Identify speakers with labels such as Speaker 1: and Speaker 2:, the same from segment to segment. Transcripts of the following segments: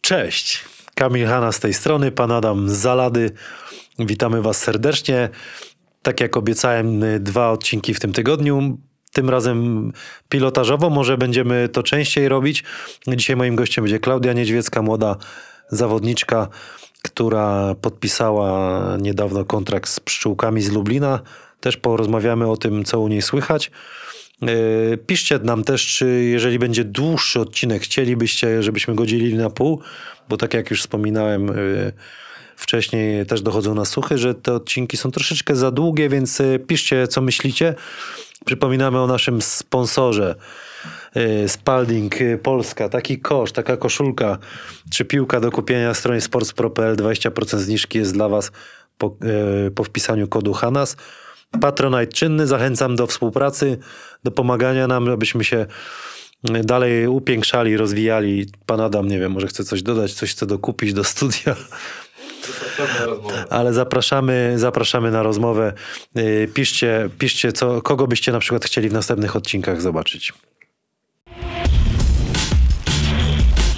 Speaker 1: Cześć, Kamil Hanna z tej strony, pan Adam z Zalady. Witamy Was serdecznie. Tak jak obiecałem, y, dwa odcinki w tym tygodniu. Tym razem pilotażowo, może będziemy to częściej robić. Dzisiaj moim gościem będzie Klaudia Niedźwiecka, młoda zawodniczka, która podpisała niedawno kontrakt z pszczółkami z Lublina. Też porozmawiamy o tym, co u niej słychać. Yy, Piszcie nam też, czy jeżeli będzie dłuższy odcinek, chcielibyście, żebyśmy go dzielili na pół, bo tak jak już wspominałem yy, wcześniej, też dochodzą na suchy, że te odcinki są troszeczkę za długie, więc yy, piszcie, co myślicie. Przypominamy o naszym sponsorze yy, Spalding yy, Polska. Taki kosz, taka koszulka czy piłka do kupienia na stronie sportspro.pl 20% zniżki jest dla Was po, yy, po wpisaniu kodu HANAS. Patronite czynny, zachęcam do współpracy, do pomagania nam, abyśmy się mm, dalej upiększali, rozwijali. Pan Adam, nie wiem, może chce coś dodać, coś chce dokupić do studia, ale zapraszamy, zapraszamy na rozmowę. Yy, Piszcie, piszcie co, kogo byście na przykład chcieli w następnych odcinkach zobaczyć.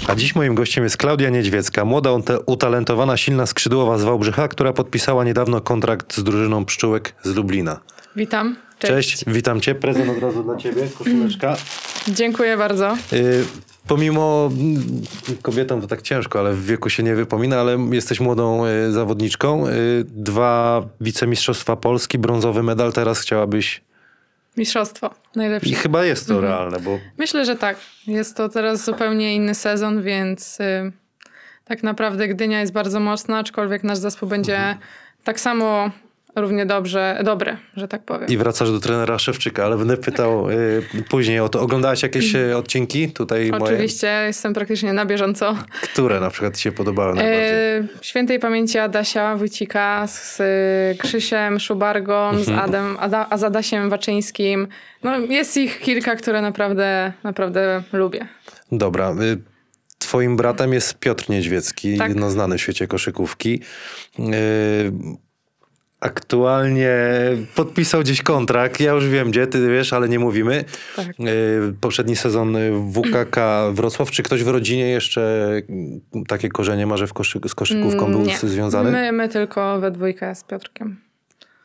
Speaker 1: A dziś moim gościem jest Klaudia Niedźwiecka, młoda, ute- utalentowana, silna skrzydłowa z Wałbrzycha, która podpisała niedawno kontrakt z drużyną pszczółek z Lublina.
Speaker 2: Witam.
Speaker 1: Cześć, witam cię. Prezent od razu dla ciebie, koszuleczka.
Speaker 2: Dziękuję bardzo.
Speaker 1: Y, Pomimo mm, kobietom to tak ciężko, ale w wieku się nie wypomina, ale jesteś młodą y, zawodniczką. Y, dwa wicemistrzostwa Polski, brązowy medal teraz chciałabyś. Mhm.
Speaker 2: Mistrzostwo.
Speaker 1: I
Speaker 2: Najlepsze.
Speaker 1: chyba jest to realne, bo
Speaker 2: Myślę, że tak. Jest to teraz zupełnie inny sezon, więc y, tak naprawdę Gdynia jest bardzo mocna, aczkolwiek nasz zespół będzie
Speaker 1: Mhm.
Speaker 2: tak samo równie dobrze, dobry, że tak powiem.
Speaker 1: i wracasz do trenera Szewczyka, ale będę pytał y, później o to. Oglądałaś jakieś y, odcinki tutaj moje?
Speaker 2: Oczywiście jestem praktycznie na bieżąco.
Speaker 1: Które na przykład ci się podobały najbardziej?
Speaker 2: E, świętej pamięci Adasia Wójcika z, y, Krzysiem Szubargą, z
Speaker 1: Mhm.
Speaker 2: Adem, Ada, a z Adasiem Waczyńskim. No, jest ich kilka, które naprawdę, naprawdę lubię.
Speaker 1: Dobra. y, Twoim bratem jest Piotr Niedźwiecki,
Speaker 2: Tak.
Speaker 1: no, znany w świecie koszykówki. Y, Aktualnie podpisał gdzieś kontrakt. Ja już wiem, gdzie ty wiesz, ale nie mówimy.
Speaker 2: Tak.
Speaker 1: Y, Poprzedni sezon WKK Wrocław. Czy ktoś w rodzinie jeszcze mm, takie korzenie ma, że w koszy- z koszykówką był
Speaker 2: Mm, Nie.
Speaker 1: z- związany?
Speaker 2: My, my tylko we dwójkę z Piotrkiem.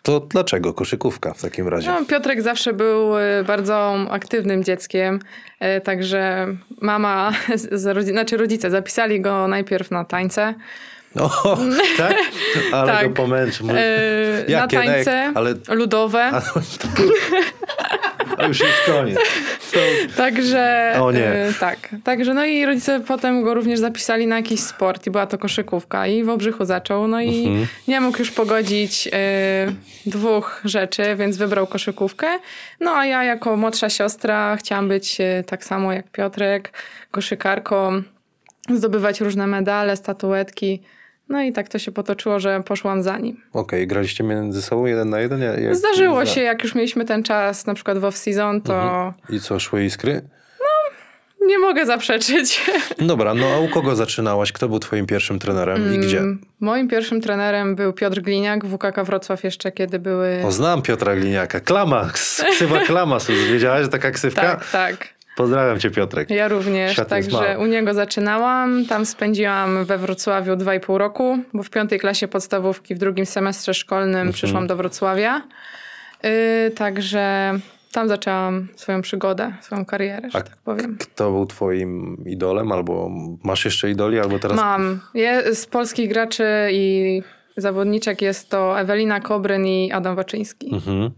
Speaker 1: To dlaczego koszykówka w takim razie?
Speaker 2: No, Piotrek zawsze był y, bardzo aktywnym dzieckiem, y, także mama, z, z rodzi- znaczy rodzice zapisali go najpierw na tańce.
Speaker 1: O, tak? Ale
Speaker 2: No. Tak.
Speaker 1: go pomęcz.
Speaker 2: y, na
Speaker 1: Jakie? Na jak-
Speaker 2: tańce
Speaker 1: ale-
Speaker 2: ludowe.
Speaker 1: To już jest koniec. To
Speaker 2: Także.
Speaker 1: O nie.
Speaker 2: y, tak. Także no i rodzice potem go również zapisali na jakiś sport i była to koszykówka i w Obrzychu zaczął. No i
Speaker 1: Mhm.
Speaker 2: nie mógł już pogodzić y, dwóch rzeczy, więc wybrał koszykówkę. No a ja jako młodsza siostra chciałam być y, tak samo jak Piotrek, koszykarką, zdobywać różne medale, statuetki. No i tak to się potoczyło, że poszłam za nim.
Speaker 1: Okej, graliście między sobą jeden na jeden? Jak, jak-
Speaker 2: Zdarzyło
Speaker 1: za-
Speaker 2: się, jak już mieliśmy ten czas, na przykład w off-season, to
Speaker 1: I co, szły iskry?
Speaker 2: nie mogę zaprzeczyć.
Speaker 1: Dobra, no a u kogo zaczynałaś? Kto był twoim pierwszym trenerem No i gdzie?
Speaker 2: Mm, Moim pierwszym trenerem był Piotr Gliniak, WKK Wrocław jeszcze kiedy były...
Speaker 1: O, znam Piotra Gliniaka. Klama, ksywa Klama. Wiedziałaś, że taka ksywka?
Speaker 2: tak, tak.
Speaker 1: Pozdrawiam cię, Piotrek.
Speaker 2: Ja również,
Speaker 1: Świat jest
Speaker 2: także
Speaker 1: mały.
Speaker 2: u niego zaczynałam. Tam spędziłam we Wrocławiu 2,5 roku, bo w piątej klasie podstawówki w drugim semestrze szkolnym
Speaker 1: Mhm.
Speaker 2: przyszłam do Wrocławia. Yy, także tam zaczęłam swoją przygodę, swoją karierę, że
Speaker 1: A
Speaker 2: tak powiem.
Speaker 1: Kto był twoim idolem? Albo masz jeszcze idoli? Albo teraz...
Speaker 2: Mam. Je, z polskich graczy i zawodniczek jest to Ewelina Kobryn i Adam Waczyński.
Speaker 1: Mhm.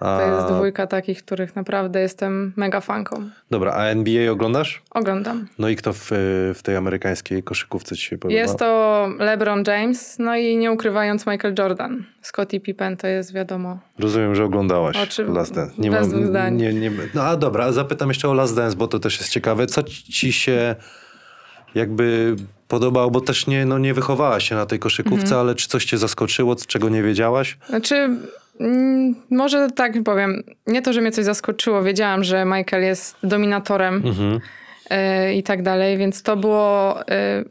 Speaker 1: A,
Speaker 2: To jest dwójka takich, których naprawdę jestem mega fanką.
Speaker 1: Dobra, a NBA oglądasz?
Speaker 2: Oglądam.
Speaker 1: No i kto w, w tej amerykańskiej koszykówce ci się podoba?
Speaker 2: Jest to LeBron James, no i nie ukrywając Michael Jordan. Scottie Pippen to jest wiadomo.
Speaker 1: Rozumiem, że oglądałaś
Speaker 2: Oczy-
Speaker 1: Last Dance.
Speaker 2: bez dwóch zdań.
Speaker 1: Nie, nie, no a dobra, a zapytam jeszcze o Last Dance, bo to też jest ciekawe. Co ci się jakby podobało, bo też nie, no nie wychowałaś się na tej koszykówce,
Speaker 2: Mhm.
Speaker 1: ale czy coś cię zaskoczyło, c- czego nie wiedziałaś?
Speaker 2: Znaczy, mm, może tak powiem, nie to, że mnie coś zaskoczyło, wiedziałam, że Michael jest dominatorem y, i tak dalej, więc to było y,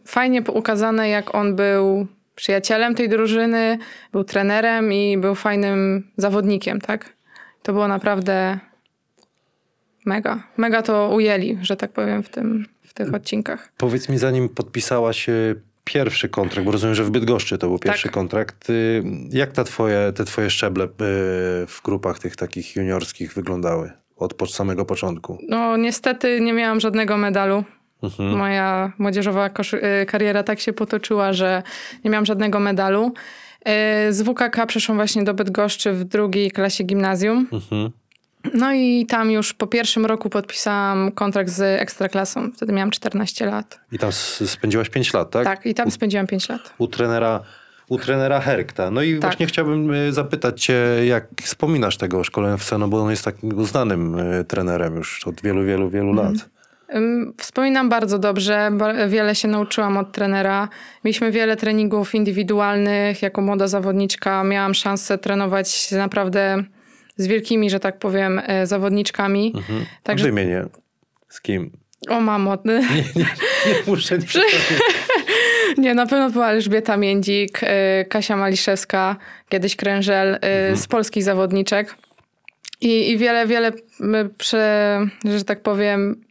Speaker 2: fajnie po- ukazane, jak on był przyjacielem tej drużyny, był trenerem i był fajnym zawodnikiem, tak? To było naprawdę Mega. Mega to ujęli, że tak powiem, w, tym, w tych odcinkach.
Speaker 1: Powiedz mi, zanim podpisałaś e, pierwszy kontrakt, bo rozumiem, że w Bydgoszczy to był pierwszy
Speaker 2: Tak.
Speaker 1: kontrakt. y, Jak ta twoje, te twoje szczeble y, w grupach tych takich juniorskich wyglądały od po- samego początku?
Speaker 2: No niestety nie miałam żadnego medalu. Moja młodzieżowa koszy- y, kariera tak się potoczyła, że nie miałam żadnego medalu. Y, Z WKK przeszłam właśnie do Bydgoszczy w drugiej klasie gimnazjum. No i tam już po pierwszym roku podpisałam kontrakt z Ekstraklasą. Wtedy miałam 14 lat.
Speaker 1: I tam s- spędziłaś 5 lat, tak?
Speaker 2: Tak, i tam spędziłam 5 lat.
Speaker 1: U trenera, u trenera Herkta. No i właśnie chciałbym y, zapytać cię, jak wspominasz tego szkoleniowca, no bo on jest takim uznanym y, trenerem już od wielu, wielu, wielu lat.
Speaker 2: Ym, Wspominam bardzo dobrze, ba- wiele się nauczyłam od trenera. Mieliśmy wiele treningów indywidualnych. Jako młoda zawodniczka miałam szansę trenować naprawdę z wielkimi, że tak powiem, e, zawodniczkami. Także,
Speaker 1: Wymienię. Z kim?
Speaker 2: o mamo,
Speaker 1: Nie muszę nie
Speaker 2: nie, na pewno była Elżbieta Międzik, e, Kasia Maliszewska, kiedyś Krężel, e, z polskich zawodniczek. I, i wiele, wiele, m, prze, że tak powiem,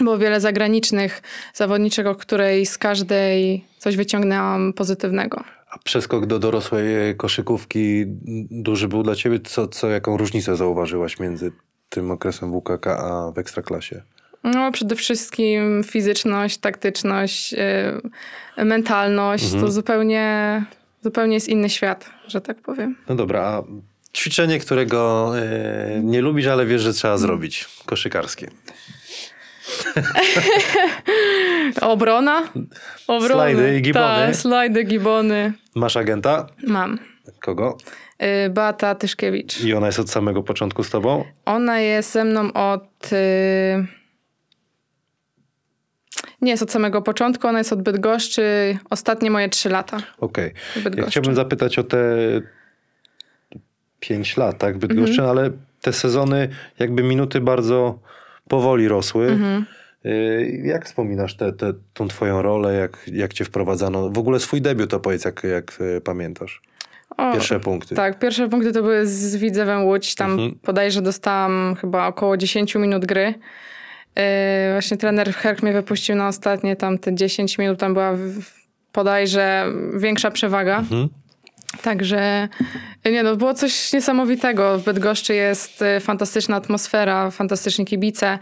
Speaker 2: było wiele zagranicznych zawodniczek, o której z każdej coś wyciągnęłam pozytywnego.
Speaker 1: A przeskok do dorosłej e, koszykówki duży był dla ciebie? Co, co, jaką różnicę zauważyłaś między tym okresem WKK a w Ekstraklasie?
Speaker 2: No, przede wszystkim fizyczność, taktyczność, e, mentalność. To zupełnie, zupełnie jest inny świat, że tak powiem.
Speaker 1: No dobra, a ćwiczenie, którego e, nie lubisz, ale wiesz, że trzeba zrobić. Koszykarskie.
Speaker 2: Obrona? Obrona.
Speaker 1: Slajdy i gibony.
Speaker 2: Tak, slajdy, gibony.
Speaker 1: Masz agenta?
Speaker 2: Mam.
Speaker 1: Kogo?
Speaker 2: Y, Beata Tyszkiewicz.
Speaker 1: I ona jest od samego początku z tobą?
Speaker 2: Ona jest ze mną od. y, Nie jest od samego początku, ona jest od Bydgoszczy. Ostatnie moje trzy lata.
Speaker 1: Okej. Ja
Speaker 2: Bydgoszczy.
Speaker 1: chciałbym zapytać o te 5 lat, tak, Bydgoszczy, ale te sezony, jakby minuty bardzo powoli rosły. Y, Jak wspominasz tę te, tą twoją rolę, jak, jak cię wprowadzano? W ogóle swój debiut to powiedz, jak, jak y, pamiętasz.
Speaker 2: O,
Speaker 1: Pierwsze punkty.
Speaker 2: Tak, pierwsze punkty to były z Widzewem Łódź. Tam
Speaker 1: Mhm.
Speaker 2: bodajże dostałam chyba około 10 minut gry. Yy, właśnie trener Herk mnie wypuścił na ostatnie tam te 10 minut. Tam była w- w- bodajże większa przewaga.
Speaker 1: Mhm.
Speaker 2: Także nie no, było coś niesamowitego. W Bydgoszczy jest y, fantastyczna atmosfera, fantastyczni kibice.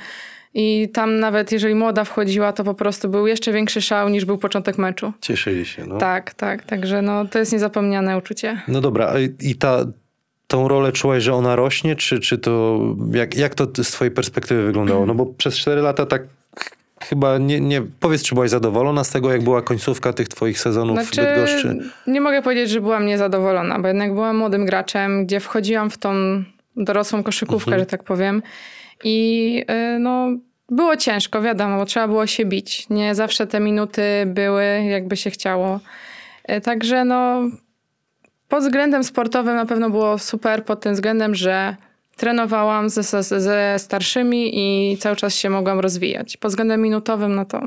Speaker 2: I tam nawet jeżeli młoda wchodziła, to po prostu był jeszcze większy szał niż był początek meczu.
Speaker 1: Cieszyli się, no.
Speaker 2: Tak, tak. Także no, to jest niezapomniane uczucie.
Speaker 1: No dobra, a i- i ta, tą rolę czułaś, że ona rośnie, czy, czy to, jak, jak to z twojej perspektywy wyglądało? No bo przez 4 lata tak ch- chyba nie, nie, powiedz, czy byłaś zadowolona z tego, jak była końcówka tych twoich sezonów
Speaker 2: Znaczy,
Speaker 1: w Bydgoszczy?
Speaker 2: nie mogę powiedzieć, że byłam niezadowolona, bo jednak byłam młodym graczem, gdzie wchodziłam w tą dorosłą koszykówkę,
Speaker 1: Mhm.
Speaker 2: że tak powiem. I y, no, było ciężko, wiadomo, bo trzeba było się bić. Nie zawsze te minuty były, jakby się chciało. Y, Także no, pod względem sportowym na pewno było super, pod tym względem, że trenowałam ze, ze, ze starszymi i cały czas się mogłam rozwijać. Pod względem minutowym, no to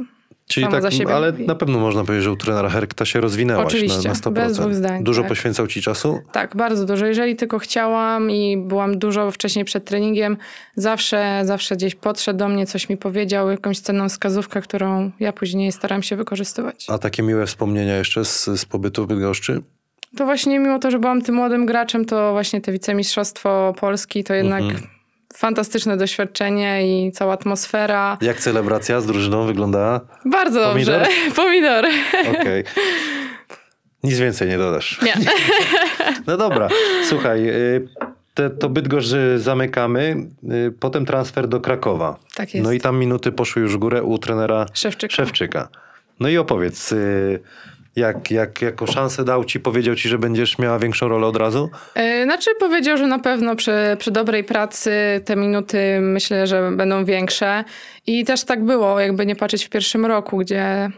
Speaker 1: Czyli
Speaker 2: samo
Speaker 1: tak,
Speaker 2: za siebie
Speaker 1: ale
Speaker 2: mówi.
Speaker 1: na pewno można powiedzieć, że u trenera Herkta się rozwinęłaś
Speaker 2: Oczywiście,
Speaker 1: na, na 100%.
Speaker 2: bez dwóch zdań,
Speaker 1: Dużo
Speaker 2: tak.
Speaker 1: poświęcał ci czasu?
Speaker 2: Tak, bardzo dużo. Jeżeli tylko chciałam i byłam dużo wcześniej przed treningiem, zawsze, zawsze gdzieś podszedł do mnie, coś mi powiedział, jakąś cenną wskazówkę, którą ja później staram się wykorzystywać.
Speaker 1: A takie miłe wspomnienia jeszcze z, z pobytu w Bydgoszczy?
Speaker 2: To właśnie mimo to, że byłam tym młodym graczem, to właśnie te wicemistrzostwo Polski to jednak fantastyczne doświadczenie i cała atmosfera.
Speaker 1: Jak celebracja z drużyną wyglądała?
Speaker 2: Bardzo dobrze. Pomidor.
Speaker 1: Okej. Nic więcej nie dodasz.
Speaker 2: Nie.
Speaker 1: No dobra, słuchaj, y, te, to Bydgoszcz y, zamykamy, y, potem transfer do Krakowa.
Speaker 2: Tak jest.
Speaker 1: No i tam minuty poszły już w górę u trenera
Speaker 2: Szewczyka.
Speaker 1: Szewczyka. No i opowiedz, y, jak, jak, jaką szansę dał ci, powiedział ci, że będziesz miała większą rolę od razu?
Speaker 2: Y, Znaczy powiedział, że na pewno przy, przy dobrej pracy te minuty myślę, że będą większe. I też tak było, jakby nie patrzeć w pierwszym roku, gdzie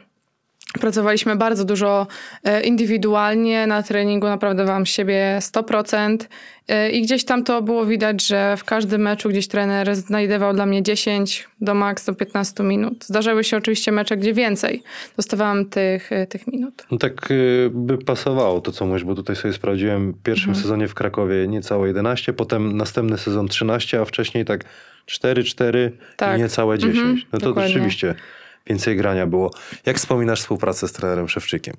Speaker 2: pracowaliśmy bardzo dużo e, indywidualnie na treningu, naprawdę wam siebie 100%. E, I gdzieś tam to było widać, że w każdym meczu gdzieś trener znajdował dla mnie 10 do maks do 15 minut. Zdarzały się oczywiście mecze, gdzie więcej dostawałam tych, e, tych minut.
Speaker 1: No tak y, by pasowało to, co mówisz, bo tutaj sobie
Speaker 2: Mhm.
Speaker 1: sprawdziłem w pierwszym sezonie w Krakowie niecałe 11, potem następny sezon 13, a wcześniej tak 4, 4
Speaker 2: Tak.
Speaker 1: i niecałe 10. no to
Speaker 2: dokładnie.
Speaker 1: rzeczywiście więcej grania było. Jak wspominasz współpracę z trenerem Szewczykiem?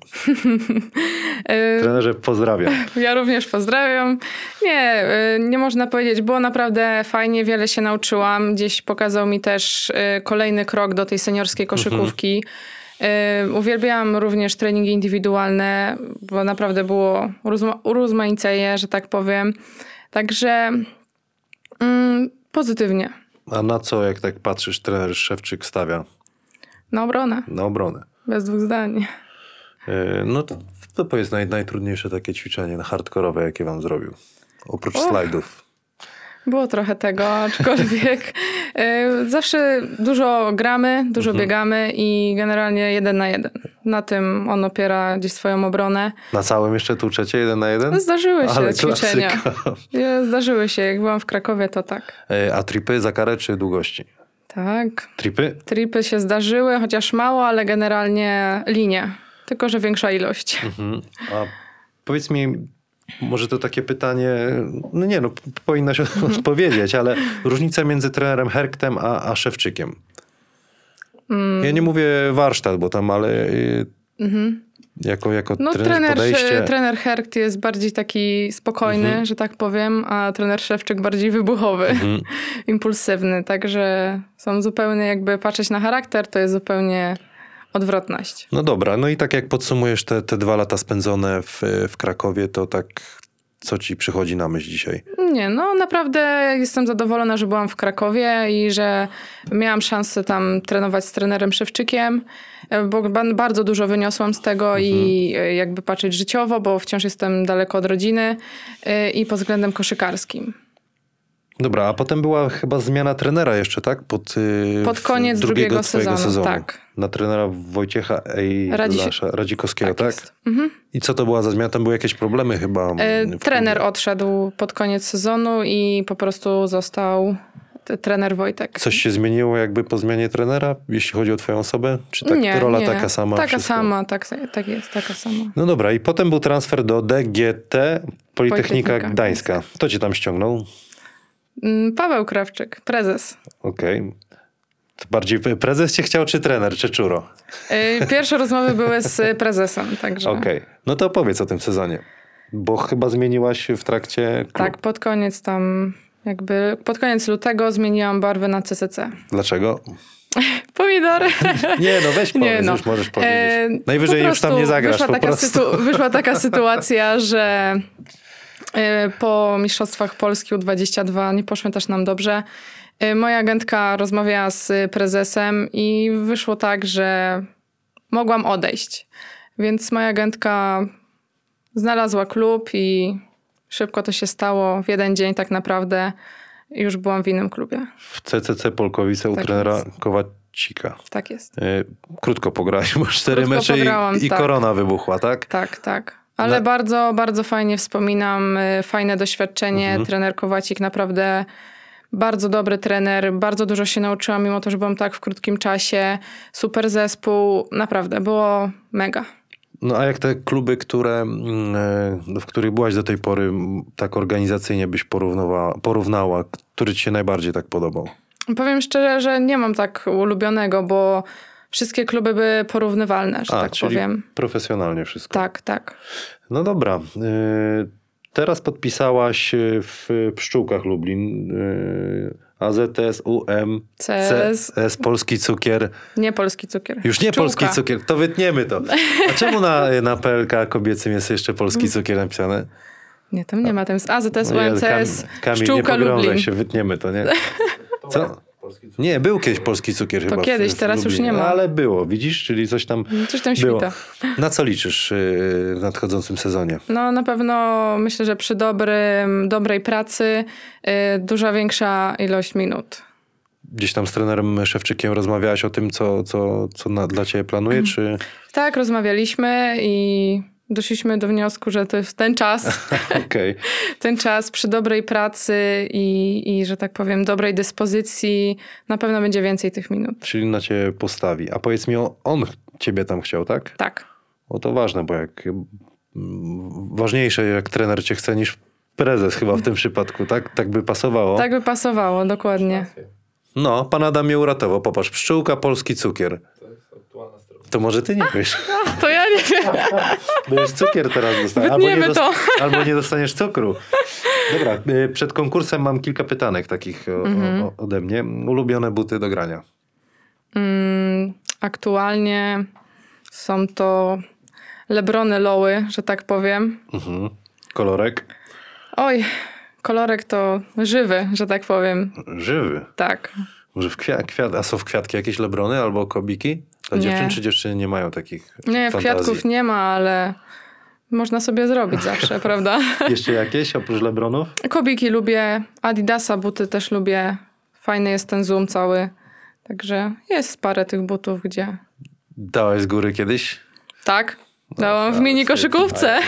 Speaker 2: E, Y.
Speaker 1: Trenerze, pozdrawiam.
Speaker 2: Ja również pozdrawiam. Nie, y, nie można powiedzieć, było naprawdę fajnie, wiele się nauczyłam. Gdzieś pokazał mi też y, kolejny krok do tej seniorskiej koszykówki. Y, Uwielbiałam również treningi indywidualne, bo naprawdę było urozma- urozmaiceje, że tak powiem. Także mm, pozytywnie.
Speaker 1: A na co, jak tak patrzysz, trener Szewczyk stawia
Speaker 2: Na obronę,
Speaker 1: na obronę?
Speaker 2: bez dwóch zdań.
Speaker 1: E, No to, to powiedz naj, najtrudniejsze takie ćwiczenie hardkorowe, jakie wam zrobił. Oprócz slajdów.
Speaker 2: Było trochę tego, aczkolwiek y, zawsze dużo gramy, dużo
Speaker 1: Mhm.
Speaker 2: biegamy i generalnie jeden na jeden. Na tym on opiera gdzieś swoją obronę.
Speaker 1: Na całym jeszcze tłuczecie jeden na jeden?
Speaker 2: No, Zdarzyły się
Speaker 1: Ale
Speaker 2: ćwiczenia.
Speaker 1: klasyka.
Speaker 2: Nie, Zdarzyły się. Jak byłam w Krakowie, to tak.
Speaker 1: E, A tripy za karę czy długości?
Speaker 2: Tak.
Speaker 1: Tripy?
Speaker 2: Tripy się zdarzyły, chociaż mało, ale generalnie linie. Tylko, że większa ilość.
Speaker 1: Mhm. A powiedz mi, może to takie pytanie, no nie no, p- powinnaś odpowiedzieć, ale różnica między trenerem Herktem a, a Szewczykiem.
Speaker 2: Mm.
Speaker 1: Ja nie mówię warsztat, bo tam, ale y, jako, jako
Speaker 2: Mhm. No,
Speaker 1: trener,
Speaker 2: trener,
Speaker 1: podejście...
Speaker 2: trener Herkt jest bardziej taki spokojny, że tak powiem, a trener Szewczyk bardziej wybuchowy, impulsywny. Także są zupełnie, jakby patrzeć na charakter, to jest zupełnie odwrotność.
Speaker 1: No dobra, no i tak jak podsumujesz te, te dwa lata spędzone w, y, w Krakowie, to tak co ci przychodzi na myśl dzisiaj?
Speaker 2: Nie, no naprawdę jestem zadowolona, że byłam w Krakowie i że miałam szansę tam trenować z trenerem Szewczykiem, e, bo ba- bardzo dużo wyniosłam z tego i e, jakby patrzeć życiowo, bo wciąż jestem daleko od rodziny e, i pod względem koszykarskim.
Speaker 1: Dobra, a potem była chyba zmiana trenera jeszcze, tak? Pod, y,
Speaker 2: Pod
Speaker 1: w-
Speaker 2: koniec drugiego
Speaker 1: twojego
Speaker 2: sezonu, tak.
Speaker 1: Na trenera Wojciecha Ej
Speaker 2: Radzi-
Speaker 1: Lasza, Radzikowskiego, tak?
Speaker 2: jest. Mhm.
Speaker 1: I co to była za zmiana? Tam były jakieś problemy chyba.
Speaker 2: E,
Speaker 1: w klubie.
Speaker 2: Trener odszedł pod koniec sezonu i po prostu został t- trener Wojtek.
Speaker 1: Coś się zmieniło jakby po zmianie trenera, jeśli chodzi o twoją osobę? Czy tak, rola taka sama?
Speaker 2: Taka
Speaker 1: wszystko?
Speaker 2: sama, tak, tak jest, taka sama.
Speaker 1: No dobra, i potem był transfer do DGT Politechnika,
Speaker 2: Politechnika
Speaker 1: Gdańska. Kto cię tam ściągnął?
Speaker 2: Mm, Paweł Krawczyk, prezes.
Speaker 1: Okej. To bardziej prezes cię chciał, czy trener, czy czuro?
Speaker 2: E, Pierwsze rozmowy były z prezesem, także.
Speaker 1: Okej. No to opowiedz o tym sezonie. Bo chyba zmieniłaś w trakcie. Klub.
Speaker 2: Tak, pod koniec tam, jakby pod koniec lutego zmieniłam barwę na CCC.
Speaker 1: Dlaczego?
Speaker 2: Pomidory.
Speaker 1: Nie, no weź powiedz, już możesz powiedzieć.
Speaker 2: E,
Speaker 1: Najwyżej
Speaker 2: po
Speaker 1: już tam
Speaker 2: prostu
Speaker 1: nie zagrasz
Speaker 2: Wyszła,
Speaker 1: po
Speaker 2: taka,
Speaker 1: prostu.
Speaker 2: sytu- wyszła taka sytuacja, że e, po mistrzostwach Polski U22 nie poszły też nam dobrze. E, Moja agentka rozmawiała z prezesem i wyszło tak, że mogłam odejść. Więc moja agentka znalazła klub i szybko to się stało. W jeden dzień tak naprawdę już byłam w innym klubie.
Speaker 1: W CCC Polkowice u
Speaker 2: Tak
Speaker 1: trenera Kowacika.
Speaker 2: Tak jest.
Speaker 1: E, Krótko pograłeś, bo cztery
Speaker 2: Krótko
Speaker 1: mecze
Speaker 2: pograłam,
Speaker 1: i, i
Speaker 2: tak.
Speaker 1: korona wybuchła, tak?
Speaker 2: Tak, tak. Ale
Speaker 1: Na-
Speaker 2: bardzo, bardzo fajnie wspominam. y, Fajne doświadczenie.
Speaker 1: Mhm.
Speaker 2: Trener Kowacik naprawdę bardzo dobry trener. Bardzo dużo się nauczyłam, mimo to, że byłam tak w krótkim czasie. Super zespół. Naprawdę, było mega.
Speaker 1: No a jak te kluby, które, mm, e, w których byłaś do tej pory, m, tak organizacyjnie byś porównowała, porównała, który ci się najbardziej tak podobał?
Speaker 2: Powiem szczerze, że nie mam tak ulubionego, bo wszystkie kluby były porównywalne, że
Speaker 1: A,
Speaker 2: tak
Speaker 1: czyli
Speaker 2: powiem.
Speaker 1: profesjonalnie wszystko.
Speaker 2: Tak, tak.
Speaker 1: No dobra. y, Teraz podpisałaś y, w Pszczółkach Lublin y, AZS, UM,
Speaker 2: CS.
Speaker 1: CS, Polski Cukier.
Speaker 2: Nie polski cukier.
Speaker 1: Już nie
Speaker 2: Pszczółka.
Speaker 1: Polski Cukier, to wytniemy to. A czemu na, na PLK kobiecym jest jeszcze Polski
Speaker 2: Mm.
Speaker 1: Cukier napisane?
Speaker 2: Nie, tam nie ma. Tam jest AZS,
Speaker 1: No nie,
Speaker 2: UMCS,
Speaker 1: Kamil- Kamil,
Speaker 2: Pszczółka
Speaker 1: nie pogrążaj
Speaker 2: Lublin.
Speaker 1: się, wytniemy to, nie? Co? Nie, był kiedyś Polski Cukier chyba. w-
Speaker 2: kiedyś,
Speaker 1: w
Speaker 2: teraz już
Speaker 1: Lublinie.
Speaker 2: nie ma.
Speaker 1: Ale było, widzisz? Czyli coś tam
Speaker 2: Coś tam
Speaker 1: było.
Speaker 2: świta.
Speaker 1: Na co liczysz y, w nadchodzącym sezonie?
Speaker 2: No na pewno myślę, że przy dobrym, dobrej pracy y, duża większa ilość minut.
Speaker 1: Gdzieś tam z trenerem Szewczykiem rozmawiałaś o tym, co, co, co na, dla ciebie planuje, czy...
Speaker 2: Tak, rozmawialiśmy i doszliśmy do wniosku, że to jest ten czas,
Speaker 1: Okej.
Speaker 2: ten czas przy dobrej pracy i, i, że tak powiem, dobrej dyspozycji na pewno będzie więcej tych minut.
Speaker 1: Czyli na ciebie postawi. A powiedz mi, on, on ciebie tam chciał, tak?
Speaker 2: Tak,
Speaker 1: O to ważne, bo jak... mm, Ważniejsze, jak trener cię chce, niż prezes chyba w tym przypadku, tak? Tak by pasowało.
Speaker 2: tak by pasowało, dokładnie.
Speaker 1: No, pan Adam mnie uratował. Popatrz, pszczółka, polski cukier. To może ty nie wiesz.
Speaker 2: To ja nie wiem.
Speaker 1: Będziesz cukier teraz dostał.
Speaker 2: Wytniemy
Speaker 1: nie
Speaker 2: to.
Speaker 1: albo nie dostaniesz cukru. Dobra, y, przed konkursem mam kilka pytanek takich o,
Speaker 2: Mhm.
Speaker 1: o, ode mnie. Ulubione buty do grania.
Speaker 2: Mm, aktualnie są to lebrony loły, że tak powiem.
Speaker 1: Kolorek?
Speaker 2: Oj, kolorek to żywy, że tak powiem.
Speaker 1: Żywy.
Speaker 2: Tak.
Speaker 1: Może w kwiat, kwiat, a są w kwiatki jakieś lebrony albo kobiki? Dla
Speaker 2: Nie.
Speaker 1: dziewczyn czy dziewczyny nie mają takich
Speaker 2: Nie,
Speaker 1: fantazji?
Speaker 2: kwiatków nie ma, ale można sobie zrobić zawsze, prawda?
Speaker 1: Jeszcze jakieś oprócz lebronów?
Speaker 2: Kobiki lubię, Adidasa buty też lubię. Fajny jest ten zoom cały. Także jest parę tych butów, gdzie...
Speaker 1: Dałeś z góry kiedyś? tak,
Speaker 2: Tak, dałam w mini koszykówce.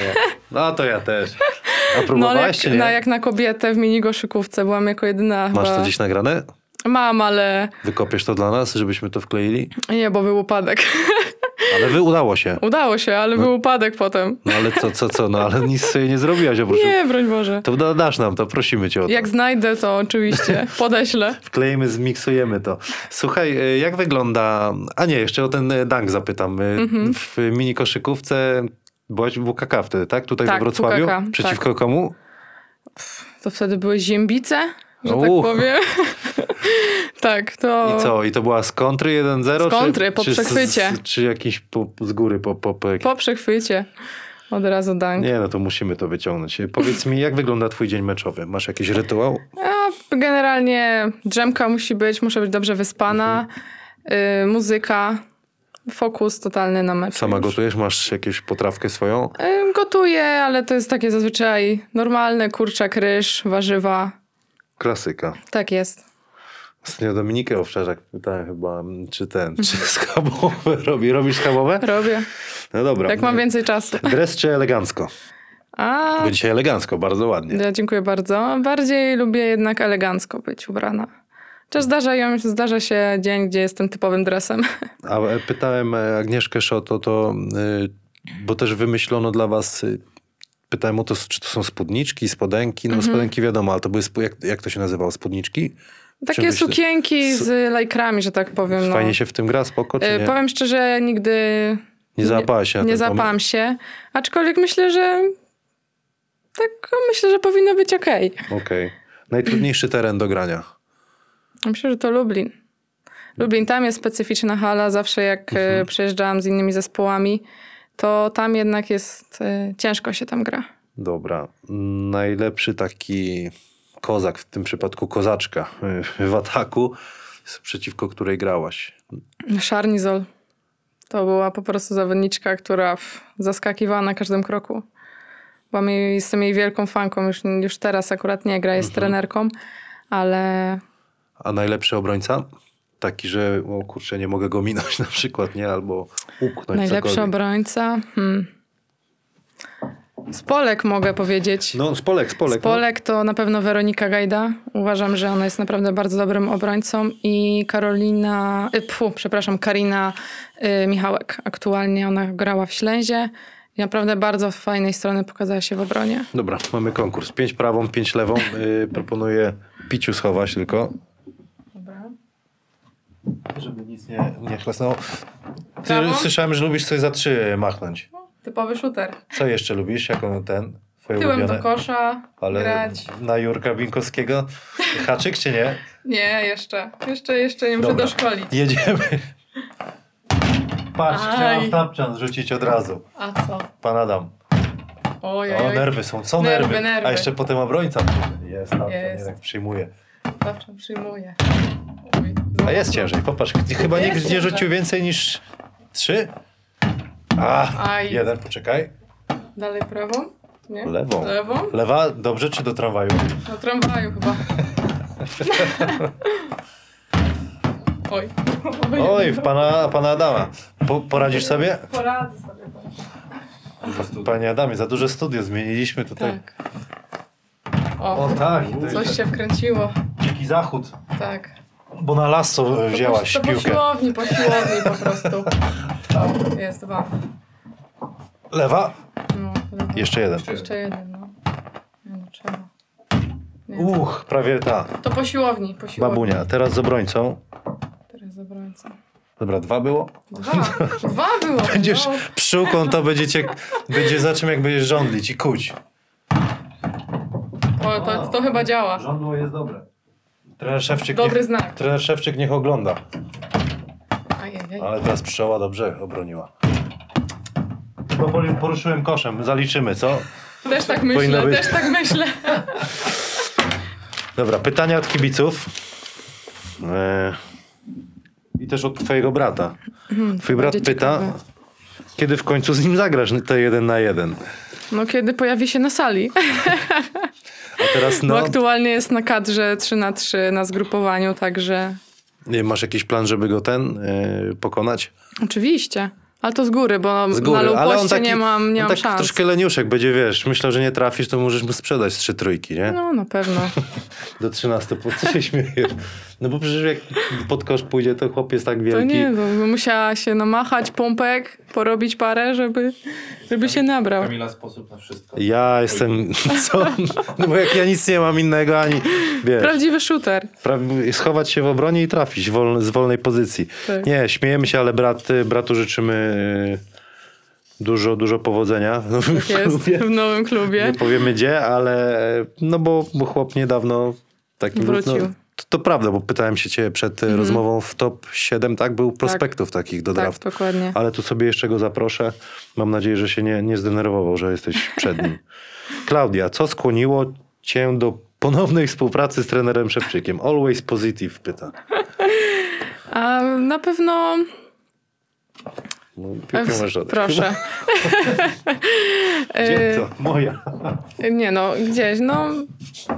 Speaker 1: No to ja też. A
Speaker 2: No ale
Speaker 1: próbowałaś
Speaker 2: jak,
Speaker 1: czy nie?
Speaker 2: na, jak na kobietę w mini koszykówce byłam jako jedyna
Speaker 1: Masz
Speaker 2: chyba.
Speaker 1: to gdzieś nagrane?
Speaker 2: Mam, ale
Speaker 1: Wykopiesz to dla nas, żebyśmy to wkleili?
Speaker 2: nie, bo był upadek.
Speaker 1: Ale wy udało się.
Speaker 2: Udało się, ale był upadek potem.
Speaker 1: No ale co, co, co? No ale nic sobie nie zrobiłaś oprócz...
Speaker 2: Nie, broń Boże.
Speaker 1: To da- dasz nam to, prosimy cię o to.
Speaker 2: Jak znajdę, to oczywiście podeślę.
Speaker 1: Wklejmy, zmiksujemy to. Słuchaj, y, jak wygląda... A nie, jeszcze o ten y, dunk zapytam. Y,
Speaker 2: Mhm.
Speaker 1: W mini koszykówce byłaś w WKK wtedy, tak? Tutaj
Speaker 2: Tak,
Speaker 1: we Wrocławiu?
Speaker 2: WKK,
Speaker 1: Przeciwko komu?
Speaker 2: To wtedy były ziębice, że tak
Speaker 1: Uch.
Speaker 2: powiem. tak, to...
Speaker 1: I co? I to była z kontry 1-0?
Speaker 2: Z kontry, po
Speaker 1: czy,
Speaker 2: przechwycie.
Speaker 1: Czy, z, czy jakiś po, z góry, po, po, po jakiejś
Speaker 2: Po przechwycie od razu dank.
Speaker 1: Nie, no to musimy to wyciągnąć. E, Powiedz mi, jak wygląda twój dzień meczowy? Masz jakiś rytuał?
Speaker 2: A generalnie drzemka musi być, muszę być dobrze wyspana, y, muzyka, fokus totalny na mecz.
Speaker 1: Mhm. Sama
Speaker 2: już.
Speaker 1: gotujesz? Masz jakąś potrawkę swoją?
Speaker 2: Y, Gotuję, ale to jest takie zazwyczaj normalne, kurczak, ryż, warzywa.
Speaker 1: Klasyka.
Speaker 2: Tak jest.
Speaker 1: Ostatnio Dominikę Owczarzak pytałem chyba, mm, czy ten, czy schabowe robi. Robisz schabowe?
Speaker 2: Robię.
Speaker 1: No dobra.
Speaker 2: Jak Tak mam więcej czasu.
Speaker 1: Dres czy elegancko?
Speaker 2: A,
Speaker 1: Bo dzisiaj elegancko, bardzo ładnie.
Speaker 2: ja No, dziękuję bardzo. Bardziej lubię jednak elegancko być ubrana. Chociaż zdarza, zdarza się dzień, gdzie jestem typowym dresem.
Speaker 1: A e, pytałem e, Agnieszkę Szot o to, y, bo też wymyślono dla was, y, pytałem o to, s- czy to są spódniczki, spodenki.
Speaker 2: Mhm.
Speaker 1: No spodenki wiadomo, ale to były, sp- jak, jak to się nazywało, spódniczki?
Speaker 2: No Takie
Speaker 1: myślisz?
Speaker 2: sukienki z lajkrami, że tak powiem. No.
Speaker 1: Fajnie się w tym gra, spoko, czy
Speaker 2: Y,
Speaker 1: nie?
Speaker 2: Powiem szczerze, nigdy
Speaker 1: Nie załapałaś się na
Speaker 2: nie
Speaker 1: ten
Speaker 2: zapałam
Speaker 1: pomysł?
Speaker 2: się. Aczkolwiek myślę, że tak myślę, że powinno być okej.
Speaker 1: Okej. Najtrudniejszy teren do grania.
Speaker 2: Myślę, że to Lublin. Lublin, tam jest specyficzna hala. Zawsze jak mhm. przejeżdżałam z innymi zespołami, to tam jednak jest e, ciężko się tam gra.
Speaker 1: Dobra. Najlepszy taki kozak, w tym przypadku kozaczka y, w ataku, z- przeciwko której grałaś.
Speaker 2: Szarnizol. To była po prostu zawodniczka, która pff, zaskakiwała na każdym kroku. Byłam jej, jestem jej wielką fanką. Już, już teraz akurat nie gra, jest trenerką, ale
Speaker 1: A najlepszy obrońca? Taki, że o kurczę, nie mogę go minąć na przykład, nie? Albo upchnąć
Speaker 2: najlepszy
Speaker 1: cokolwiek.
Speaker 2: obrońca. Hmm. Z Polek mogę powiedzieć.
Speaker 1: No, z Polek, z Polek.
Speaker 2: Z Polek to na pewno Weronika Gajda. Uważam, że ona jest naprawdę bardzo dobrym obrońcą. I Karolina, y, pfu, przepraszam, Karina y, Michałek. Aktualnie ona grała w Ślęzie i naprawdę bardzo fajnej strony pokazała się w obronie.
Speaker 1: No. Dobra, mamy konkurs. Pięć prawą, pięć lewą. Y, proponuję piciu schować tylko. Dobra. Żeby nic nie, nie chlasnęło. Ty,
Speaker 2: Prawą?
Speaker 1: słyszałem, że lubisz coś za trzy machnąć.
Speaker 2: Typowy shooter.
Speaker 1: Co jeszcze lubisz? Jaką ten? Twoje
Speaker 2: Tyłem
Speaker 1: ulubione?
Speaker 2: do kosza,
Speaker 1: Ale
Speaker 2: grać.
Speaker 1: na Jurka Binkowskiego? Haczyk czy nie?
Speaker 2: Nie, jeszcze. Jeszcze, jeszcze nie muszę
Speaker 1: muszę Dobra.
Speaker 2: doszkolić.
Speaker 1: Jedziemy. Patrz,
Speaker 2: Aj.
Speaker 1: chciałam tapczan rzucić od razu.
Speaker 2: A co?
Speaker 1: Pan Adam.
Speaker 2: Ojej,
Speaker 1: O, nerwy są, są
Speaker 2: Nerwy,
Speaker 1: nerwy.
Speaker 2: nerwy.
Speaker 1: A jeszcze potem obrońca. Jest tapczan,
Speaker 2: Jest.
Speaker 1: jednak przyjmuje.
Speaker 2: zawsze przyjmuję.
Speaker 1: A jest ciężej, popatrz. Chyba
Speaker 2: Jest
Speaker 1: nikt nie
Speaker 2: ciężej.
Speaker 1: rzucił więcej niż trzy. A,
Speaker 2: Aj.
Speaker 1: jeden, poczekaj.
Speaker 2: Dalej prawą? Nie?
Speaker 1: Lewą.
Speaker 2: Lewą?
Speaker 1: Lewa, dobrze czy do tramwaju?
Speaker 2: Na tramwaju chyba. Oj.
Speaker 1: Oj, w pana, pana Adama. Po, poradzisz sobie?
Speaker 2: Poradzę sobie. tak.
Speaker 1: Panie Adamie, za duże studio zmieniliśmy tutaj.
Speaker 2: Tak. O,
Speaker 1: O tak, i to
Speaker 2: coś
Speaker 1: jest
Speaker 2: się wkręciło.
Speaker 1: dziki zachód.
Speaker 2: tak.
Speaker 1: Bo na lasso wzięłaś
Speaker 2: to po, to po
Speaker 1: piłkę.
Speaker 2: siłowni, po siłowni po prostu. Jest dwa.
Speaker 1: Lewa.
Speaker 2: No, lewo.
Speaker 1: Jeszcze jeden.
Speaker 2: Jeszcze jeden, no. Nie no, trzeba. Więc
Speaker 1: Uch, prawie ta.
Speaker 2: to po siłowni, po siłowni.
Speaker 1: Babunia, teraz z obrońcą.
Speaker 2: Teraz obrońca.
Speaker 1: Dobra, dwa było.
Speaker 2: Dwa. Dwa było.
Speaker 1: Będziesz
Speaker 2: No.
Speaker 1: pszczółką, to będziecie, będzie za czym jak będziesz żądlić i kuć.
Speaker 2: No. O, to, to chyba działa.
Speaker 1: Żądło jest dobre. Trener Szewczyk,
Speaker 2: Dobry
Speaker 1: niech,
Speaker 2: znak.
Speaker 1: trener Szewczyk niech ogląda. No,
Speaker 2: Ajajaj.
Speaker 1: Ale teraz pszczoła dobrze obroniła. Chyba poli- poruszyłem koszem, zaliczymy, co?
Speaker 2: Też tak
Speaker 1: Powinno
Speaker 2: myślę,
Speaker 1: być.
Speaker 2: też tak myślę.
Speaker 1: Dobra, pytania od kibiców. E, I też od twojego brata. Twój brat
Speaker 2: Mhm, będzie
Speaker 1: pyta,
Speaker 2: ciekawe.
Speaker 1: kiedy w końcu z nim zagrasz te jeden na jeden?
Speaker 2: No kiedy pojawi się na sali.
Speaker 1: A teraz
Speaker 2: Bo
Speaker 1: no,
Speaker 2: aktualnie jest na kadrze 3 na 3 na zgrupowaniu, także
Speaker 1: nie, masz jakiś plan, żeby go ten e, pokonać?
Speaker 2: oczywiście. Ale to z góry, bo
Speaker 1: Z góry,
Speaker 2: na
Speaker 1: ale on
Speaker 2: lupoście
Speaker 1: taki,
Speaker 2: nie mam, nie
Speaker 1: on
Speaker 2: mam
Speaker 1: taki
Speaker 2: szans.
Speaker 1: troszkę leniuszek będzie, wiesz, myślę, że nie trafisz, to możesz mu sprzedać z trzy trójki, nie?
Speaker 2: No na pewno.
Speaker 1: Do 13, po co się śmiejesz? No bo przecież jak pod kosz pójdzie, to chłop jest tak
Speaker 2: To
Speaker 1: wielki.
Speaker 2: nie, bo musiała się namachać pompek, porobić parę, żeby, żeby się nabrał.
Speaker 3: Kamila sposób na wszystko.
Speaker 1: Ja jestem, co? No bo jak ja nic nie mam innego, ani, wiesz,
Speaker 2: Prawdziwy shooter.
Speaker 1: pra- schować się w obronie i trafić wol, z wolnej pozycji.
Speaker 2: Tak.
Speaker 1: Nie, śmiejemy się, ale brat, bratu życzymy y, dużo, dużo powodzenia. No,
Speaker 2: Tak jest w nowym klubie.
Speaker 1: Nie powiemy gdzie, ale no bo, bo chłop niedawno taki
Speaker 2: Wrócił. Mhm.
Speaker 1: No, to, to prawda, bo pytałem się ciebie przed y, rozmową w top 7, tak? Był prospektów takich do
Speaker 2: Tak,
Speaker 1: draftu.
Speaker 2: dokładnie.
Speaker 1: Ale tu sobie jeszcze go zaproszę. Mam nadzieję, że się nie, nie zdenerwował, że jesteś przed nim. Klaudia, co skłoniło cię do ponownej współpracy z trenerem Szepczykiem? Always positive, pyta.
Speaker 2: A na pewno
Speaker 1: No, piłkę masz oddać.
Speaker 2: Proszę. y-
Speaker 1: Gdzie to? Moja.
Speaker 2: Nie no, gdzieś. No,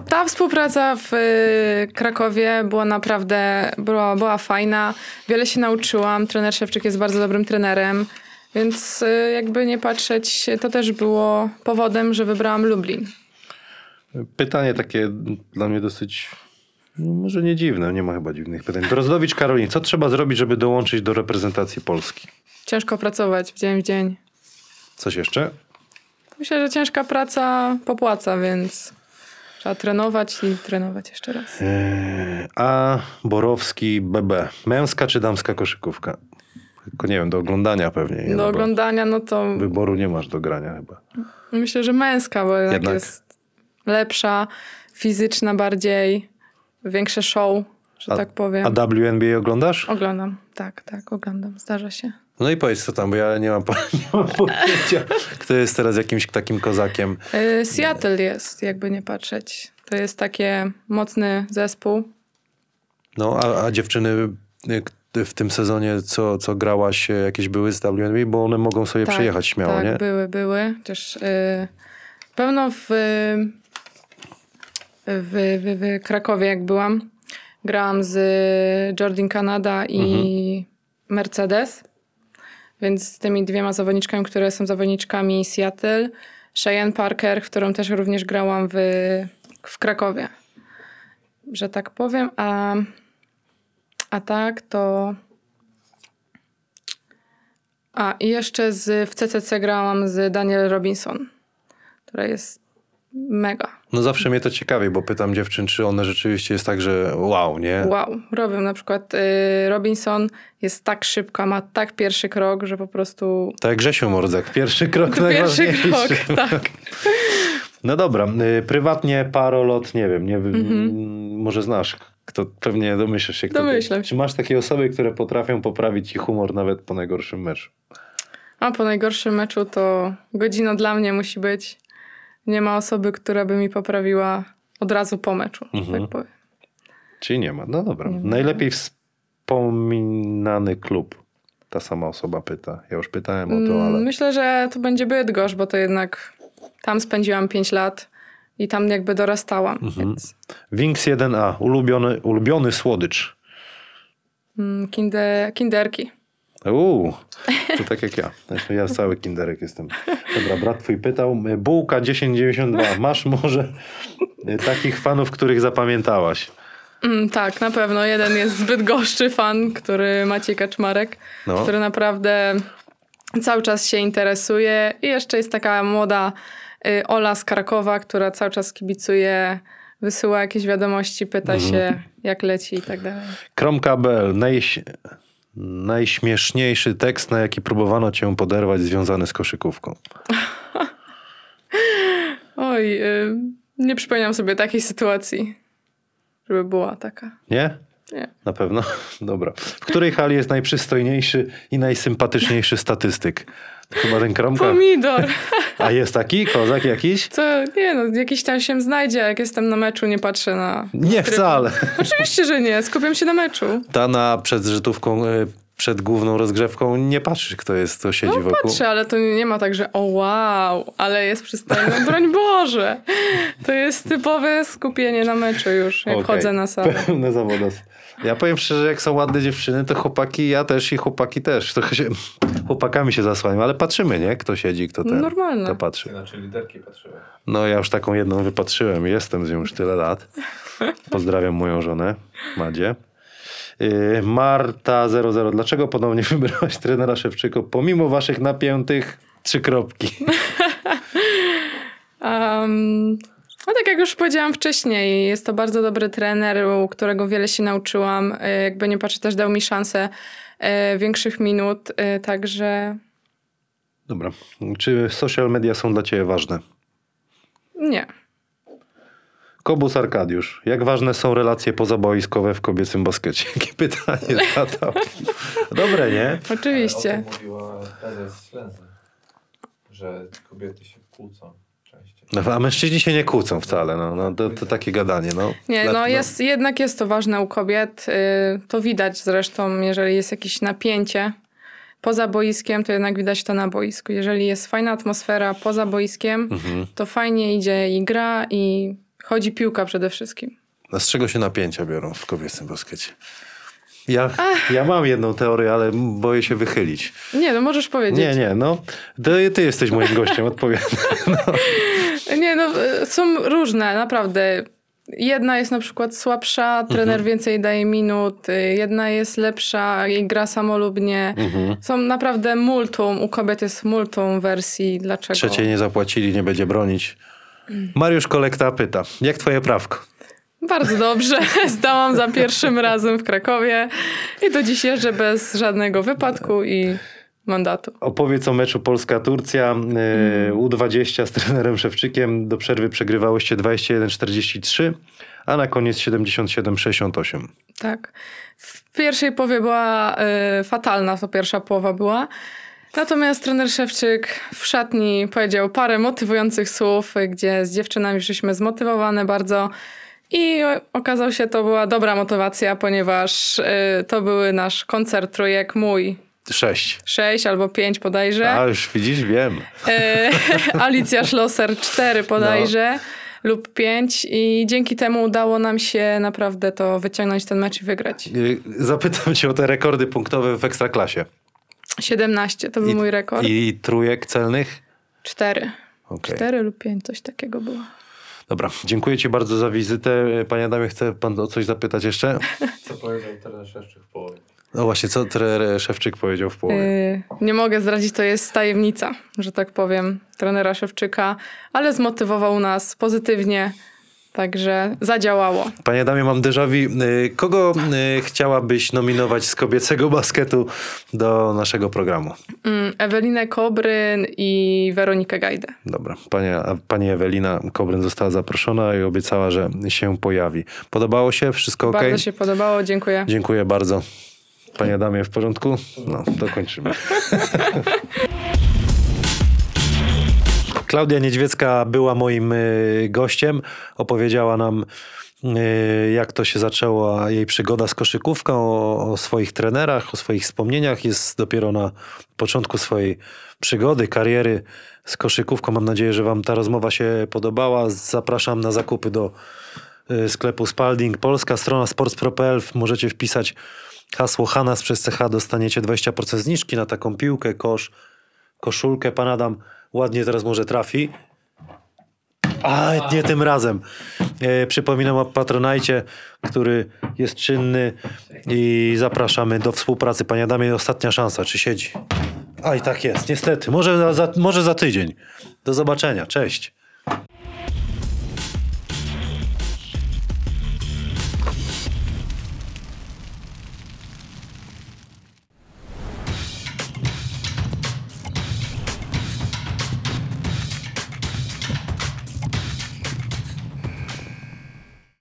Speaker 2: ta współpraca w y, Krakowie była naprawdę była, była fajna. Wiele się nauczyłam. Trener Szewczyk jest bardzo dobrym trenerem. Więc y, jakby nie patrzeć, to też było powodem, że wybrałam Lublin.
Speaker 1: Pytanie takie dla mnie dosyć, no, może nie dziwne, nie ma chyba dziwnych pytań. Drozdowicz Karolin, co trzeba zrobić, żeby dołączyć do reprezentacji Polski?
Speaker 2: Ciężko pracować w dzień w dzień.
Speaker 1: Coś jeszcze?
Speaker 2: Myślę, że ciężka praca popłaca, więc trzeba trenować i trenować jeszcze raz.
Speaker 1: Eee, A, Borowski, BB. Męska czy damska koszykówka? Tylko nie wiem, do oglądania pewnie. nie?
Speaker 2: Do
Speaker 1: No bo
Speaker 2: oglądania, no to
Speaker 1: Wyboru nie masz do grania chyba.
Speaker 2: Myślę, że męska, bo jednak,
Speaker 1: Jednak.
Speaker 2: jest lepsza, fizyczna bardziej, większe show, że
Speaker 1: A-
Speaker 2: tak powiem.
Speaker 1: A WNBA oglądasz?
Speaker 2: Oglądam, tak, tak, oglądam, zdarza się.
Speaker 1: No i powiedz co tam, bo ja nie mam, po- nie mam pojęcia, kto jest teraz jakimś takim kozakiem.
Speaker 2: Y, Seattle jest, jakby nie patrzeć. To jest takie mocny zespół.
Speaker 1: No, a, a dziewczyny y, k- w tym sezonie, co, co grałaś, y, jakieś były z WNBA, bo one mogą sobie
Speaker 2: tak,
Speaker 1: przejechać śmiało,
Speaker 2: tak,
Speaker 1: nie?
Speaker 2: były, były. Chociaż y, pewno w, w, w, w Krakowie, jak byłam, grałam z Jordan Canada i
Speaker 1: Mhm.
Speaker 2: Mercedes. Więc z tymi dwiema zawodniczkami, które są zawodniczkami Seattle, Cheyenne Parker, którą też również grałam w, w Krakowie, że tak powiem. A, a tak to. A i jeszcze z, w CCC grałam z Daniel Robinson, która jest mega.
Speaker 1: No zawsze mnie to ciekawi, bo pytam dziewczyn, czy one rzeczywiście jest tak, że wow, nie?
Speaker 2: Wow, robią na przykład y, Robinson jest tak szybka, ma tak pierwszy krok, że po prostu
Speaker 1: Tak jak Grzesiu Mordzak, pierwszy krok
Speaker 2: to pierwszy
Speaker 1: najważniejszy.
Speaker 2: krok, tak.
Speaker 1: No dobra, y, prywatnie parolot, nie wiem, nie wiem, może znasz, kto pewnie domyślasz się. Kto
Speaker 2: Mhm. Domyślam się.
Speaker 1: Czy masz takie osoby, które potrafią poprawić ci humor nawet po najgorszym meczu?
Speaker 2: A po najgorszym meczu to godzina dla mnie musi być. Nie ma osoby, która by mi poprawiła od razu po meczu, że
Speaker 1: Mhm.
Speaker 2: tak powiem.
Speaker 1: Czy nie ma? No dobra.
Speaker 2: Nie ma.
Speaker 1: Najlepiej wspominany klub. Ta sama osoba pyta. Ja już pytałem o No to,
Speaker 2: Mm,
Speaker 1: ale
Speaker 2: Myślę, że to będzie Bydgoszcz, bo to jednak tam spędziłam 5 lat i tam jakby dorastałam,
Speaker 1: Mhm.
Speaker 2: więc
Speaker 1: Wings 1A, ulubiony, ulubiony słodycz.
Speaker 2: mm, kinde, kinderki.
Speaker 1: Uuu, to tak jak ja. Znaczy, ja cały kinderek jestem. Dobra, brat twój pytał. e, Bułka 1092. Masz może e, takich fanów, których zapamiętałaś?
Speaker 2: Mm, tak, na pewno. Jeden jest zbyt goszczy fan, który Maciej Kaczmarek,
Speaker 1: No.
Speaker 2: który naprawdę cały czas się interesuje. I jeszcze jest taka młoda y, Ola z Krakowa, która cały czas kibicuje w wysyła jakieś wiadomości, pyta się, jak leci i tak dalej.
Speaker 1: Kromka.pl. Najś... Najśmieszniejszy tekst, na jaki próbowano cię poderwać, związany z koszykówką.
Speaker 2: Oj, y, nie przypominam sobie takiej sytuacji, żeby była taka.
Speaker 1: Nie?
Speaker 2: Nie.
Speaker 1: Na pewno. Dobra. W której hali jest najprzystojniejszy i najsympatyczniejszy statystyk? Chyba ten kromka.
Speaker 2: Pomidor!
Speaker 1: A jest taki? Kozak jakiś?
Speaker 2: Co? Nie no, jakiś tam się znajdzie, jak jestem na meczu, nie patrzę na...
Speaker 1: Nie, wcale.
Speaker 2: Oczywiście, że nie, skupiam się na meczu.
Speaker 1: Ta na przed zżytówką, y, przed główną rozgrzewką nie patrzysz, kto jest, kto siedzi
Speaker 2: No
Speaker 1: wokół.
Speaker 2: patrzę, ale to nie, nie ma tak, że o wow, ale jest przystojny. Broń Boże! To jest typowe skupienie na meczu już, jak
Speaker 1: Okej.
Speaker 2: chodzę na salę.
Speaker 1: Pełne zawodos. Ja powiem szczerze, jak są ładne dziewczyny, to chłopaki, ja też i chłopaki też. Trochę się, chłopakami się zasłaniam, ale patrzymy, nie? Kto siedzi, kto ten.
Speaker 2: Normalne.
Speaker 1: Kto patrzy.
Speaker 3: Znaczy liderki patrzyłem.
Speaker 1: No ja już taką jedną wypatrzyłem i jestem z nią już tyle lat. Pozdrawiam moją żonę, Madzie. Yy, Marta 00. Dlaczego ponownie wybrałaś trenera Szewczyko pomimo waszych napiętych trzy kropki?
Speaker 2: Um, no tak jak już powiedziałam wcześniej, jest to bardzo dobry trener, u którego wiele się nauczyłam. E, Jakby nie patrzę, też dał mi szansę e, większych minut, e, także
Speaker 1: Dobra. Czy social media są dla ciebie ważne?
Speaker 2: nie.
Speaker 1: Kobus Arkadiusz. Jak ważne są relacje pozaboiskowe w kobiecym baskecie? Jakie pytanie zadał? Dobre, nie?
Speaker 2: Oczywiście.
Speaker 3: Ale E, o tym mówiła prezes Ślęzy, że kobiety się kłócą częściej.
Speaker 1: No, a mężczyźni się nie kłócą wcale. No, no, to, to takie gadanie. No.
Speaker 2: Nie,
Speaker 1: Dla-
Speaker 2: no jest, jednak jest to ważne u kobiet. y, To widać zresztą, jeżeli jest jakieś napięcie poza boiskiem, to jednak widać to na boisku. Jeżeli jest fajna atmosfera poza boiskiem, to fajnie idzie i gra, i chodzi piłka przede wszystkim.
Speaker 1: No z czego się napięcia biorą w kobiecym baskecie? Ja, ja mam jedną teorię, ale boję się wychylić.
Speaker 2: Nie, no możesz powiedzieć.
Speaker 1: Nie, nie, no. Ty, ty jesteś moim gościem, odpowiadam.
Speaker 2: Nie, no y, są różne, naprawdę. Jedna jest na przykład słabsza, trener więcej daje minut, y, jedna jest lepsza i gra samolubnie. Są naprawdę multum, u kobiet jest multum wersji, dlaczego.
Speaker 1: Trzeciej nie zapłacili, nie będzie bronić. Mariusz Kolekta pyta, jak twoje prawko?
Speaker 2: Bardzo dobrze, zdałam za pierwszym razem w Krakowie i do dziś jeżdżę bez żadnego wypadku i mandatu.
Speaker 1: Opowiedz o meczu Polska-Turcja yy, U20 z trenerem Szewczykiem. Do przerwy przegrywałyście 21-43, a na koniec 77-68.
Speaker 2: Tak. W pierwszej połowie była y, fatalna, to pierwsza połowa była. Natomiast trener Szewczyk w szatni powiedział parę motywujących słów, y, gdzie z dziewczynami szliśmy zmotywowane bardzo. I o- okazał się, to była dobra motywacja, ponieważ y, to były nasz koncert trójek mój.
Speaker 1: 6.
Speaker 2: Sześć albo pięć bodajże.
Speaker 1: A już widzisz, wiem.
Speaker 2: E, Alicja Schlosser 4 bodajże
Speaker 1: No.
Speaker 2: lub 5 i dzięki temu udało nam się naprawdę to wyciągnąć ten mecz i wygrać.
Speaker 1: Yy, Zapytam cię o te rekordy punktowe w Ekstraklasie.
Speaker 2: 17 to był mój rekord.
Speaker 1: I trójek celnych?
Speaker 2: 4.
Speaker 1: Okej.
Speaker 2: 4 lub 5, coś takiego było.
Speaker 1: Dobra, dziękuję ci bardzo za wizytę. E, Panie Adamie, chce pan o coś zapytać jeszcze?
Speaker 3: Co powiedział trener Szewczyk w połowie?
Speaker 1: No właśnie, co trener Szewczyk powiedział w połowie?
Speaker 2: E, nie mogę zdradzić, to jest tajemnica, że tak powiem, trenera Szewczyka, ale zmotywował nas pozytywnie, także zadziałało.
Speaker 1: Panie Adamie, mam déjà vu. Y, Kogo y, chciałabyś nominować z kobiecego basketu do naszego programu?
Speaker 2: Mm, Ewelinę Kobryn i Weronikę Gajdę.
Speaker 1: Dobra. Panie, a pani Ewelina Kobryn została zaproszona i obiecała, że się pojawi. Podobało się? Wszystko ok?
Speaker 2: Bardzo się podobało, dziękuję.
Speaker 1: Dziękuję bardzo. Panie Adamie, w porządku? No, to kończymy.
Speaker 4: Klaudia Niedźwiecka była moim y, gościem. Opowiedziała nam, y, jak to się zaczęła jej przygoda z koszykówką, o, o swoich trenerach, o swoich wspomnieniach. Jest dopiero na początku swojej przygody, kariery z koszykówką. Mam nadzieję, że Wam ta rozmowa się podobała. Zapraszam na zakupy do y, sklepu Spalding Polska, strona sports.pl. Możecie wpisać hasło Hanas przez CH, dostaniecie 20% zniżki na taką piłkę, kosz, koszulkę. Pan Adam ładnie teraz może trafi. A, nie tym razem. E, przypominam o Patronajcie, który jest czynny i zapraszamy do współpracy. Panie Adamie, ostatnia szansa. Czy siedzi? Aj, tak jest, niestety. Może za, za, może za tydzień. Do zobaczenia. Cześć.